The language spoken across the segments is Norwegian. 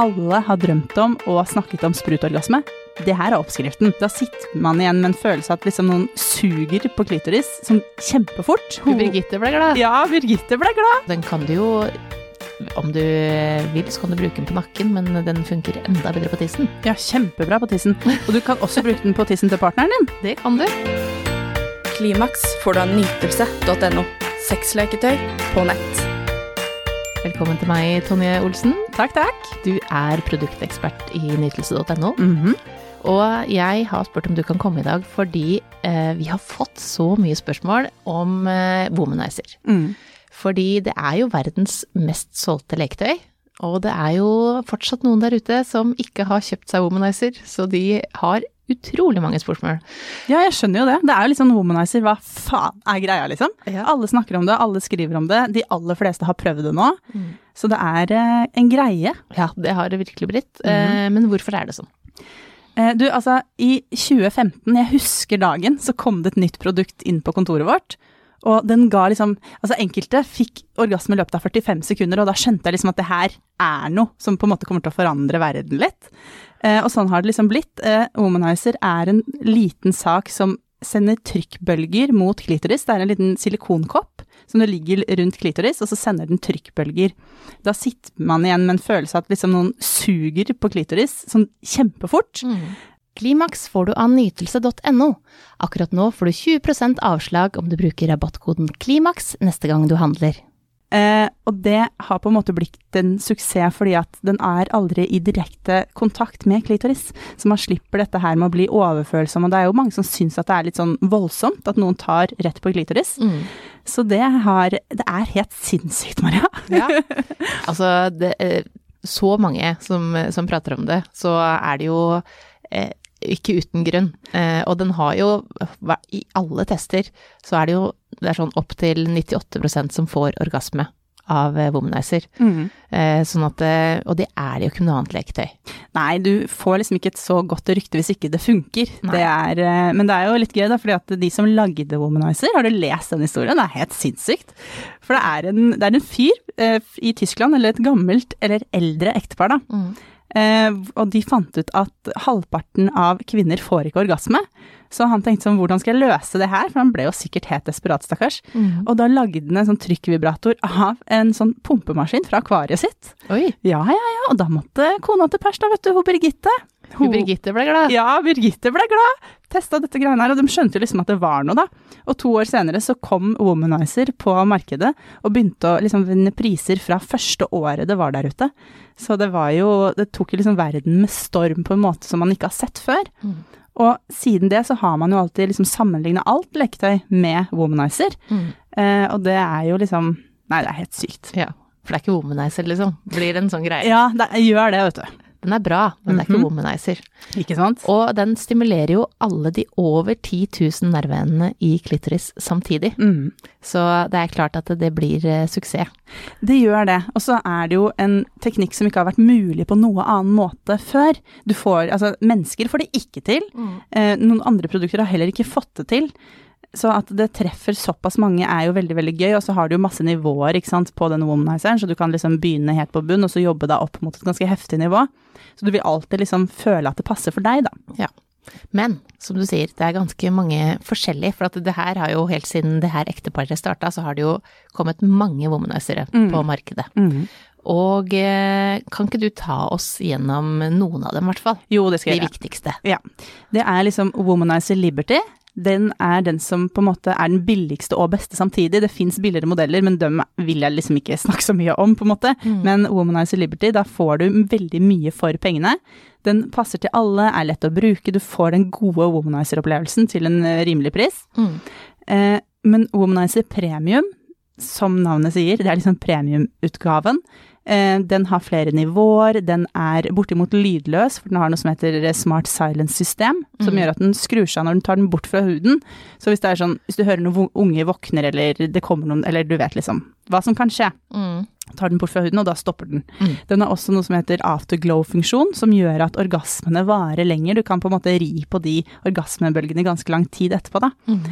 alle har drømt om og snakket om sprutorgasme. Det her er oppskriften. Da sitter man igjen med en følelse av at liksom noen suger på klitoris som kjempefort. Du, Birgitte ble glad. Ja, Birgitte ble glad. Den kan du jo Om du vil, så kan du bruke den på nakken, men den funker enda bedre på tissen. Ja, kjempebra på tissen. Og du kan også bruke den på tissen til partneren din. Det kan du. Klimaks får du av nytelse.no. Sexleketøy på nett. Velkommen til meg, Tonje Olsen. Takk, takk. Du er produktekspert i nytelse.no. Mhm. Og jeg har spurt om du kan komme i dag fordi eh, vi har fått så mye spørsmål om eh, womanizer. Mm. Fordi det er jo verdens mest solgte leketøy. Og det er jo fortsatt noen der ute som ikke har kjøpt seg womanizer, så de har utrolig mange spørsmål. Ja, jeg skjønner jo det. Det er jo litt sånn womanizer. Hva faen er greia, liksom? Ja. Alle snakker om det, alle skriver om det. De aller fleste har prøvd det nå. Mm. Så det er eh, en greie. det har det virkelig blitt. Mhm. Eh, Men hvorfor er det sånn? Eh, Du, altså, i 2015, jeg husker dagen, så kom det et nytt produkt inn på kontoret vårt. Og den ga liksom Altså, enkelte fikk orgasme i løpet av 45 sekunder, og da skjønte jeg liksom at det her er noe som på en måte kommer til å forandre verden litt. Eh, Og sånn har det liksom blitt. Eh, Womanizer er en liten sak som sender trykkbølger mot klitoris. Det er en liten silikonkopp som du ligger rundt klitoris, og så sender den trykkbølger. Da sitter man igjen med en følelse av at liksom noen suger på klitoris sånn kjempefort. Mhm. Klimaks får du av nytelse.no. Akkurat nå får du 20 avslag om du bruker rabattkoden Klimaks neste gang du handler. Eh, og det har på en måte blitt en suksess fordi at den er aldri i direkte kontakt med klitoris. Så man slipper dette her med å bli overfølsom, og det er jo mange som syns at det er litt sånn voldsomt at noen tar rett på klitoris. Mhm. Så det har Det er helt sinnssykt, Maria. Ja. altså, det, eh, så mange som, som prater om det, så er det jo eh, ikke uten grunn. Eh, og den har jo, hva- i alle tester, så er det jo det er sånn opptil 98 som får orgasme av eh, womanizer. Eh, sånn at, eh, og det er jo ikke noe annet leketøy. Nei, du får liksom ikke et så godt rykte hvis ikke det funker. Nei. Det er, eh, men det er jo litt gøy, da, fordi at de som lagde Womanizer, har du lest den historien? Det er helt sinnssykt. For det er en, det er en fyr eh, i Tyskland, eller et gammelt eller eldre ektepar, da. Mm. Eh, og de fant ut at halvparten av kvinner får ikke orgasme. Så han tenkte sånn, hvordan skal jeg løse det her? For han ble jo sikkert helt desperat, stakkars. Mm. Og da lagde han en sånn trykkvibrator av en sånn pumpemaskin fra akvariet sitt. Oi, Ja, ja, ja, og da måtte kona til pers da, vet du, hun Birgitte. hun Birgitte ble glad. Ja, Birgitte ble glad. Testa dette greiene her, og de skjønte jo liksom at det var noe, da. Og to år senere så kom Womanizer på markedet og begynte å liksom vinne priser fra første året det var der ute. Så det var jo Det tok jo liksom verden med storm på en måte som man ikke har sett før. Mm. Og siden det så har man jo alltid liksom sammenligna alt leketøy med Womanizer. Mm. Eh, og det er jo liksom Nei, det er helt sykt. Ja, for det er ikke womanizer, liksom. Blir en sånn greie. Ja, det gjør det, vet du. Den er bra, men det er Mhm. ikke womanizer. Ikke sant? Og den stimulerer jo alle de over 10 000 nerveendene i klitoris samtidig. Mm. Så det er klart at det blir eh, suksess. Det gjør det. Og så er det jo en teknikk som ikke har vært mulig på noe annen måte før. Du får, altså, mennesker får det ikke til. Eh, noen andre produkter har heller ikke fått det til. Så at det treffer såpass mange er jo veldig veldig gøy, og så har du jo masse nivåer ikke sant, på denne womanizeren, så du kan liksom begynne helt på bunn, og så jobbe deg opp mot et ganske heftig nivå. Så du vil alltid liksom føle at det passer for deg, da. Men som du sier, det er ganske mange forskjellige. For at det her har jo helt siden det her ekteparet starta, så har det jo kommet mange womanizere på markedet. Og eh, kan ikke du ta oss gjennom noen av dem, i hvert fall? Jo, det skal De jeg gjøre. viktigste. Ja. Det er liksom Womanizer Liberty. Den er den som på en måte er den billigste og beste samtidig. Det fins billigere modeller, men dem vil jeg liksom ikke snakke så mye om, på en måte. Men Womanizer Liberty, da får du veldig mye for pengene. Den passer til alle, er lett å bruke, du får den gode Womanizer-opplevelsen til en eh, rimelig pris. Mm. Eh, men Womanizer Premium, som navnet sier, det er liksom premiumutgaven. Eh, den har flere nivåer, den er bortimot lydløs, for den har noe som heter eh, smart silence system, som Mm. gjør at den skrur seg når den tar den bort fra huden. Så hvis det er sånn, hvis du hører noen vo- unge våkner, eller det kommer noen, eller du vet liksom hva som kan skje, Mm. tar den bort fra huden, og da stopper den. Mm. Den har også noe som heter afterglow-funksjon, som gjør at orgasmene varer lenger. Du kan på en måte ri på de orgasmebølgene ganske lang tid etterpå, da. Mm.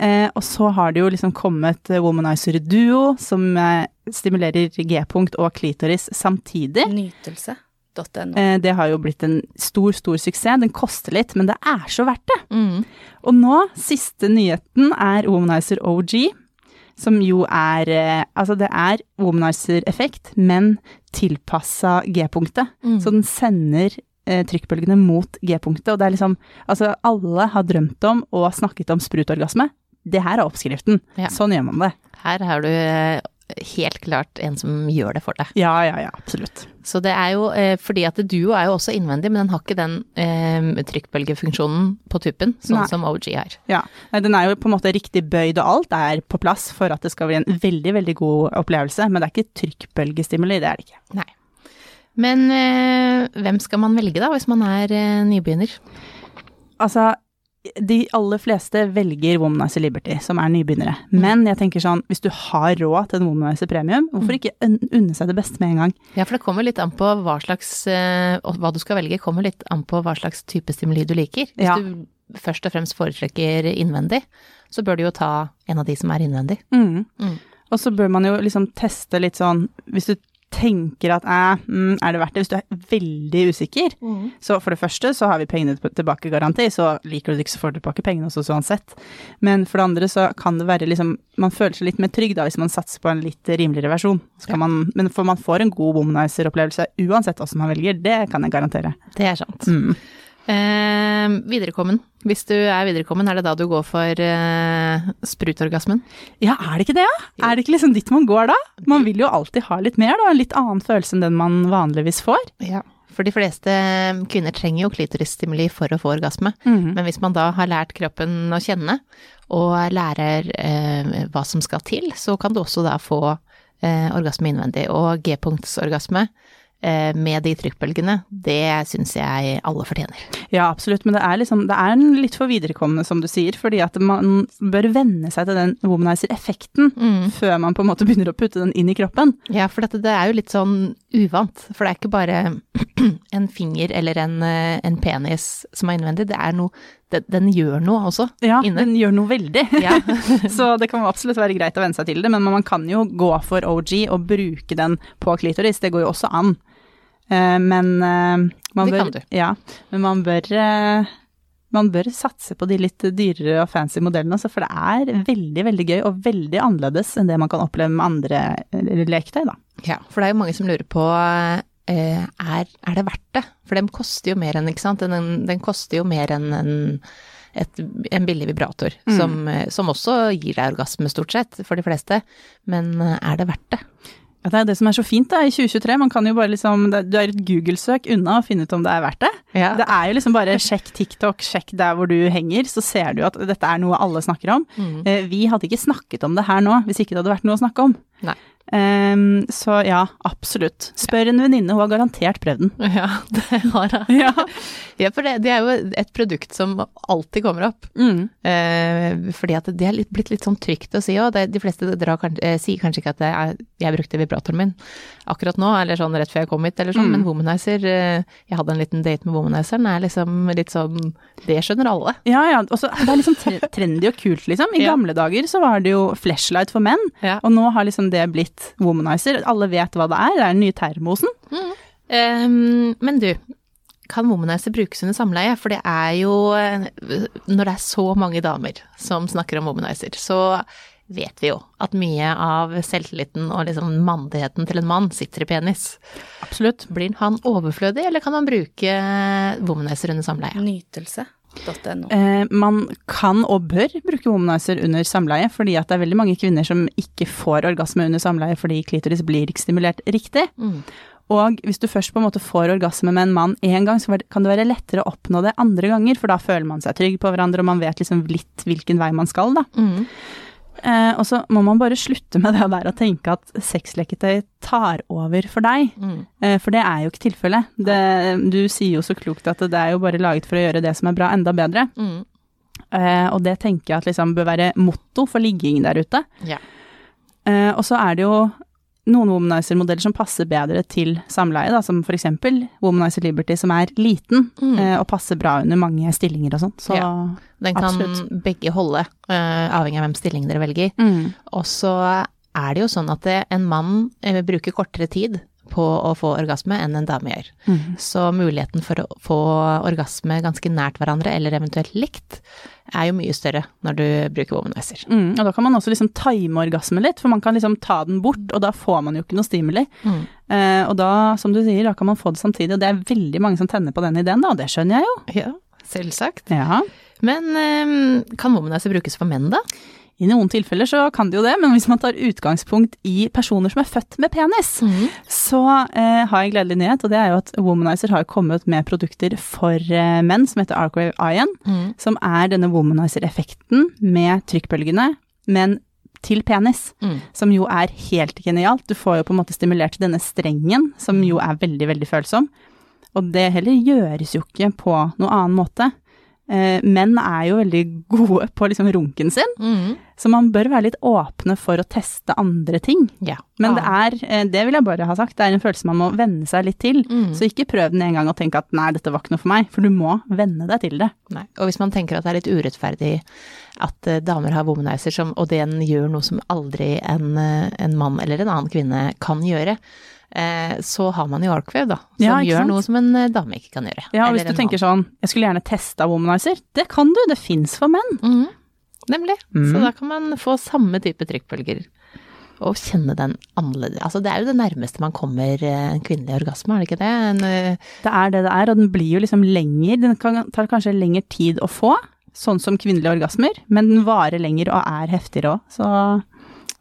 Eh, og så har det jo liksom kommet eh, Womanizer Duo, som eh, stimulerer G-punkt og klitoris samtidig. Nytelse.no. .no. Eh, Det har jo blitt en stor, stor suksess. Den koster litt, men det er så verdt det. Mm. Og nå, siste nyheten er Womanizer OG, som jo er eh, Altså, det er Womanizer-effekt, men tilpassa G-punktet. Mm. Så den sender eh, trykkbølgene mot G-punktet, og det er liksom Altså, alle har drømt om og snakket om sprutorgasme. Det her er oppskriften. Ja. Sånn gjør man det. Her har du eh, helt klart en som gjør det for deg. Ja, ja, ja, absolutt. Så det er jo eh, fordi at Duo er jo også innvendig, men den har ikke den eh, trykkbølgefunksjonen på tuppen, sånn Nei. som OG har. Ja. Nei, den er jo på en måte riktig bøyd og alt er på plass for at det skal bli en veldig, veldig god opplevelse, men det er ikke trykkbølgestimuli, det er det ikke. Nei. Men eh, hvem skal man velge da, hvis man er eh, nybegynner? Altså, de aller fleste velger Womanizer Liberty, som er nybegynnere. Men jeg tenker sånn, hvis du har råd til en Womanizer Premium, hvorfor ikke un- unne seg det beste med en gang? Ja, for det kommer litt an på hva slags eh, og Hva du skal velge, kommer litt an på hva slags type stimuli du liker. Hvis Ja. du først og fremst foretrekker innvendig, så bør du jo ta en av de som er innvendig. Mm. Og så bør man jo liksom teste litt sånn, hvis du tenker at eh, mm, er det verdt det, hvis du er veldig usikker, Så for det første så har vi pengene tilb- tilbake garanti, så liker du det ikke så får du tilbake pengene hos oss uansett. Men for det andre så kan det være liksom, man føler seg litt mer trygg da hvis man satser på en litt rimeligere versjon. Så kan man, men for man får en god womanizer-opplevelse uansett hva som man velger, det kan jeg garantere. Det er sant. Eh, viderekommen. Hvis du er viderekommen, er det da du går for eh, sprutorgasmen? Ja, er det ikke det, ja? Er det ikke liksom dit man går da? Man vil jo alltid ha litt mer da, en litt annen følelse enn den man vanligvis får. Ja. For de fleste kvinner trenger jo klitorisstimuli for å få orgasme. Men hvis man da har lært kroppen å kjenne, og lærer eh, hva som skal til, så kan du også da få eh, orgasme innvendig. Og G-punktsorgasme eh, med de trykkbølgene, det syns jeg alle fortjener. Ja, absolutt, men det er liksom, det er en litt for viderekommende som du sier, fordi at man bør venne seg til den womanizer-effekten. før man på en måte begynner å putte den inn i kroppen. Ja, for dette, det er jo litt sånn uvant. For det er ikke bare en finger eller en, eh, en penis som er innvendig, det er noe det, Den gjør noe også Ja, inne. den gjør noe veldig. Ja. Så det kan absolutt være greit å venne seg til det, men man kan jo gå for OG og bruke den på klitoris, det går jo også an. Eh, Men eh, man Det bør, kan du. Ja, men man bør, eh, man bør satse på de litt dyrere og fancy modellene, altså, for det er veldig, veldig gøy og veldig annerledes enn det man kan oppleve med andre eh, leketøy, da. Ja, for det er jo mange som lurer på eh, er, er det verdt det? For den koster jo mer enn, ikke sant? Den, den koster jo mer enn en, et, en billig vibrator, som, eh, som også gir deg orgasme stort sett, for de fleste. Men eh, er det verdt det? Ja, det er jo det som er så fint da, i 2023. Man kan jo bare liksom, det- du er et Google-søk unna å finne ut om det er verdt det. Ja. Det er jo liksom bare sjekk TikTok, sjekk der hvor du henger, så ser du at dette er noe alle snakker om. Mm. Eh, Vi hadde ikke snakket om det her nå hvis ikke det hadde vært noe å snakke om. Nei. Ehm, så ja, absolutt. Spør en venninne, hun har garantert prøvd den. Ja, det har jeg. Ja. Ja, for det, det er jo et produkt som alltid kommer opp. Mm. Eh, fordi at det er litt, blitt litt sånn trygt å si òg. De fleste drar, kan- eh, sier kanskje ikke at det er, jeg brukte vibratoren min akkurat nå, eller sånn rett før jeg kom hit, eller sånn. Men womanizer, eh, jeg hadde en liten date med womanizeren, er liksom litt sånn Det skjønner alle. Ja, ja. Og så det er liksom tre- trendy og kult, liksom. I Ja. gamle dager så var det jo flashlight for menn, Ja. og nå har liksom det blitt womanizer. Alle vet hva det er, det er den nye termosen. Eh, men du, kan womanizer brukes under samleie? For det er jo eh, Når det er så mange damer som snakker om womanizer, så vet vi jo at mye av selvtilliten og liksom mandigheten til en mann sitter i penis. Absolutt. Blir han overflødig, eller kan han bruke womanizer under samleie? Nytelse.no. Eh, man kan og bør bruke womanizer under samleie, fordi at det er veldig mange kvinner som ikke får orgasme under samleie fordi klitoris blir ikke stimulert riktig. Og hvis du først på en måte får orgasme med en mann én gang, så kan det være lettere å oppnå det andre ganger, for da føler man seg trygg på hverandre, og man vet liksom litt hvilken vei man skal, da. Mm, Eh, og så må man bare slutte med det der å tenke at sexleketøy tar over for deg. mm, Eh, for det er jo ikke tilfellet. Det- Du sier jo så klokt at det er jo bare laget for å gjøre det som er bra, enda bedre. mm, Eh, og det tenker jeg at liksom bør være motto for ligging der ute. Ja. Eh, og så er det jo noen womanizer-modeller som passer bedre til samleie, da, som for eksempel Womanizer Liberty, som er liten eh, og passer bra under mange stillinger og sånn. Så Mm. Ja. Den kan Absolutt. begge holde, eh, avhengig av hvem stilling dere velger. mm, Og så er det jo sånn at det, en mann eh, bruker kortere tid på å få orgasme enn en dame gjør. Mm. Så muligheten for å få orgasme ganske nært hverandre, eller eventuelt likt, er jo mye større når du bruker womanizer. Mm, og da kan man også liksom time orgasmen litt, for man kan liksom ta den bort, og da får man jo ikke noe stimuli. Mm. Eh, og da, som du sier, da kan man få det samtidig, og det er veldig mange som tenner på den ideen, da, og det skjønner jeg jo. Ja, selvsagt. Ja. Men eh, kan womanizer brukes for menn, da? I noen tilfeller så kan det jo det, men hvis man tar utgangspunkt i personer som er født med penis, Mm. så eh, har jeg en gledelig nyhet, og det er jo at Womanizer har kommet med produkter for eh, menn som heter Arcwave Ion, Mm. som er denne Womanizer-effekten med trykkbølgene, men til penis, Mm. som jo er helt genialt. Du får jo på en måte stimulert denne strengen, som jo er veldig, veldig følsom. Og det heller gjøres jo ikke på noen annen måte. Eh, menn er jo veldig gode på liksom runken sin, Mm. så man bør være litt åpne for å teste andre ting. Ja. Ah. Men det er, eh, det vil jeg bare ha sagt, det er en følelse man må venne seg litt til. Mm. Så ikke prøv den en gang og tenk at nei, dette var ikke noe for meg, for du må venne deg til det. Nei. Og hvis man tenker at det er litt urettferdig at eh, damer har womanizer, som, og den gjør noe som aldri en, eh, en mann eller en annen kvinne kan gjøre, eh, så har man jo Arkwave, da. Som Ja, ikke gjør sant? noe som en eh, dame ikke kan gjøre. Ja, og eller hvis du en tenker sånn, jeg skulle gjerne testa Womanizer, det kan du, det fins for menn. mann. Mhm. Nemlig. Mm. Så da kan man få samme type trykkbølger. Og kjenne den annerledes. Altså, det er jo det nærmeste man kommer eh, en kvinnelig orgasme, er det ikke det? En, eh, Det er det det er, og den blir jo liksom lenger, den kan, tar kanskje lengre tid å få, sånn som kvinnelige orgasmer, men den varer lenger og er heftigere òg, så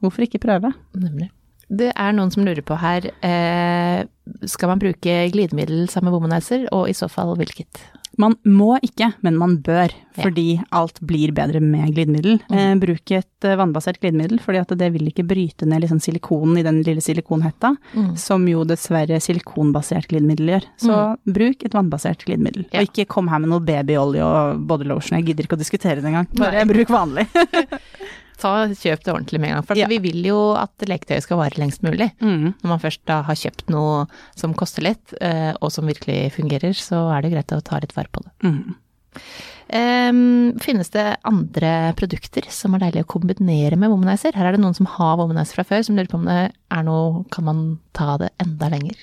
hvorfor ikke prøve? Nemlig. Det er noen som lurer på her, eh, skal man bruke glidemiddel sammen med womanizer, og i så fall hvilket? Man må ikke, men man bør, Ja. Mm. fordi alt blir bedre med glidemiddel. Eh, bruk et eh, vannbasert glidemiddel, fordi at det vil ikke bryte ned liksom silikonen i den lille silikonhetta, Mm. som jo dessverre silikonbasert glidemiddel gjør. Så bruk et vannbasert glidemiddel, Ja. og ikke kom her med noe babyolje og bodylotion, jeg gidder ikke å diskutere det engang. Bare bruk vanlig. Ta, kjøp det ordentlig med en gang, for at Ja. vi vil jo at leketøyet skal vare lengst mulig. Mm, Når man først da har kjøpt noe som koster litt, eh, og som virkelig fungerer, så er det greit å ta litt vare på det. Mm. Em, finnes det andre produkter som er deilig å kombinere med womanizer? Her er det noen som har womanizer fra før, som lurer på om det er noe, kan man ta det enda lenger?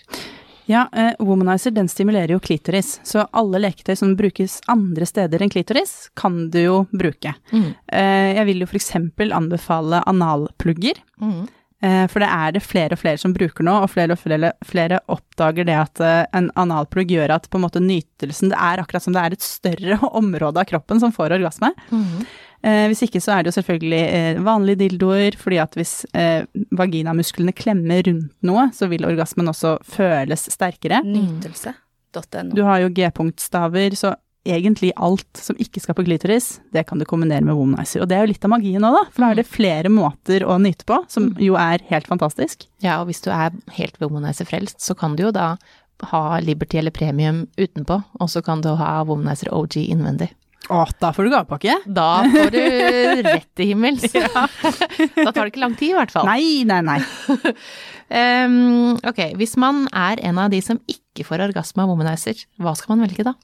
Ja, eh, womanizer den stimulerer jo klitoris, så alle leketøy som brukes andre steder enn klitoris, kan du jo bruke. Mm. Eh, jeg vil jo for eksempel anbefale analplugger, Mm. eh, for det er det flere og flere som bruker nå, og flere og flere, flere oppdager det at eh, en analplugg gjør at på en måte nytelsen, det er akkurat som det er et større område av kroppen som får orgasme. Mm. Eh, hvis ikke så er det jo selvfølgelig eh, vanlige dildoer, fordi at hvis eh, vaginamusklene klemmer rundt noe, så vil orgasmen også føles sterkere. Mm. Nytelse.no. Du har jo G-punktstaver, så egentlig alt som ikke skal på glitoris, det kan du kombinere med womanizer. Og det er jo litt av magien òg, da. For da er det flere måter å nyte på, som jo er helt fantastisk. Ja, og hvis du er helt womanizer-frelst, så kan du jo da ha Liberty eller Premium utenpå, og så kan du ha Womanizer OG innvendig. Å, da får du gavepakke! Da får du rett til himmels. da tar det ikke lang tid, i hvert fall. Nei, nei, nei. Ehm, ok, hvis man er en av de som ikke får orgasme av Womanizer, hva skal man velge da?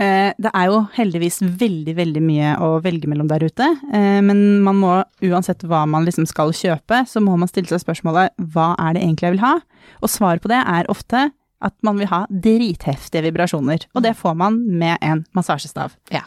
Eh, Det er jo heldigvis veldig, veldig mye å velge mellom der ute. eh, Men man må, uansett hva man liksom skal kjøpe, så må man stille seg spørsmålet hva er det egentlig jeg vil ha? Og svaret på det er ofte at man vil ha dritheftige vibrasjoner. Og det får man med en massasjestav. Ja.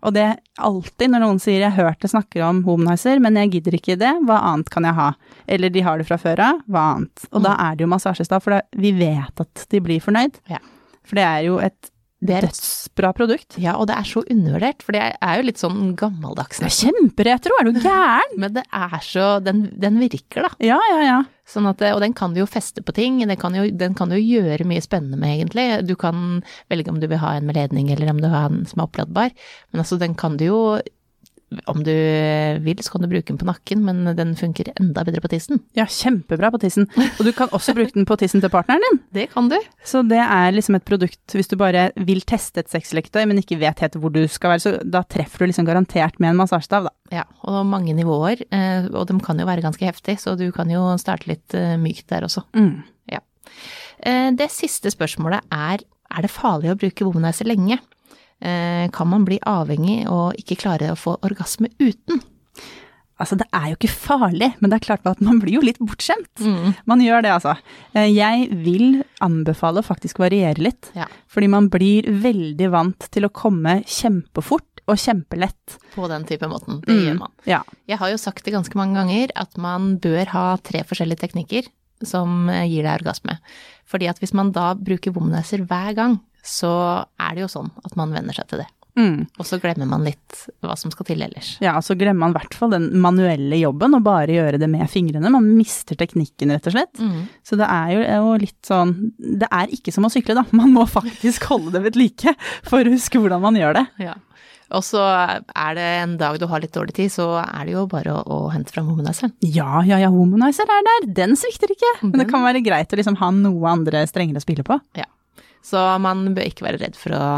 Og det er alltid når noen sier 'jeg har hørt det snakker om womanizer, men jeg gidder ikke det, hva annet kan jeg ha'? Eller 'de har det fra før av, hva annet?' Og da er det jo massasjestav, for da, vi vet at de blir fornøyd. Mm. Ja. For det er jo et Det er et- dødsbra produkt. Ja, og det er så undervurdert, for det er jo litt sånn gammeldags. Det er kjemperetro, er du gæren? Men det er så, den, den virker da. Ja, ja, ja. Sånn at, det- og den kan du jo feste på ting, den kan, jo, den kan du jo gjøre mye spennende med egentlig. Du kan velge om du vil ha en med ledning eller om du vil ha en som er oppladbar. Men altså den kan du jo, om du vil så kan du bruke den på nakken, men den funker enda bedre på tissen. Ja, kjempebra på tissen. Og du kan også bruke den på tissen til partneren din. Det kan du. Så det er liksom et produkt hvis du bare vil teste et sexleketøy, men ikke vet helt hvor du skal være, så da treffer du liksom garantert med en massasjestav, da. Ja, og mange nivåer, eh, og de kan jo være ganske heftige, så du kan jo starte litt eh, mykt der også. Eh, Det siste spørsmålet er, er det farlig å bruke womanizer lenge? Eh, Kan man bli avhengig og ikke klare å få orgasme uten? Altså, det er jo ikke farlig, men det er klart at man blir jo litt bortskjemt. Mm. Man gjør det, altså. Eh, Jeg vil anbefale å faktisk variere litt. Ja. Fordi man blir veldig vant til å komme kjempefort og kjempelett. På den type måten. Det gjør man. Ja. Jeg har jo sagt det ganske mange ganger at man bør ha tre forskjellige teknikker som eh, gir deg orgasme. Fordi at hvis man da bruker bomnæser hver gang, så er det jo sånn at man venner seg til det. Mm. Og så glemmer man litt hva som skal til ellers. ja, og så glemmer man i hvert fall den manuelle jobben, og bare gjøre det med fingrene. Man mister teknikken, rett og slett. Mm. Så det er jo- er jo litt sånn Det er ikke som å sykle, da. Man må faktisk holde det ved like for å huske hvordan man gjør det. Ja. Og så er det en dag du har litt dårlig tid, så er det jo bare å, å hente fram homonæseren. Ja, ja, ja, Womanizer er der. Den svikter ikke. Men det kan være greit å liksom ha noe andre strenger å spille på. Ja. Så man bør ikke være redd for å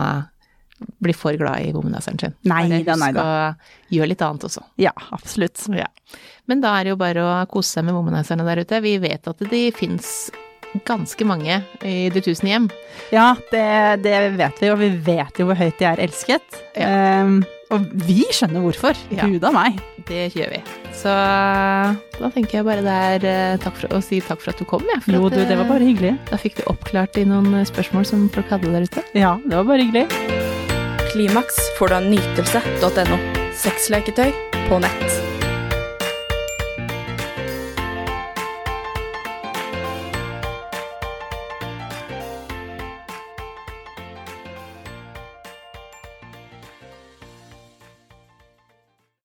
bli for glad i homonæseren sin. Nei Bare da, nei husk å gjøre litt annet også. Ja, absolutt. Ja. Men da er det jo bare å kose seg med womanizerne der ute. Vi vet at de fins ganske mange i de tusen hjem. Ja, det, det vet vi, og vi vet jo hvor høyt de er elsket. Ja. Ehm, og vi skjønner hvorfor. Ja. Gud a meg. Det gjør vi. Så da tenker jeg bare det er eh, takk for, å si takk for at du kom. Jeg, for Jo, at, du, det var eh, bare hyggelig. Da fikk vi oppklart i noen eh, spørsmål som folk hadde der ute. Ja, det var bare hyggelig. Klimaks får du av nytelse.no. Sexleketøy på nett.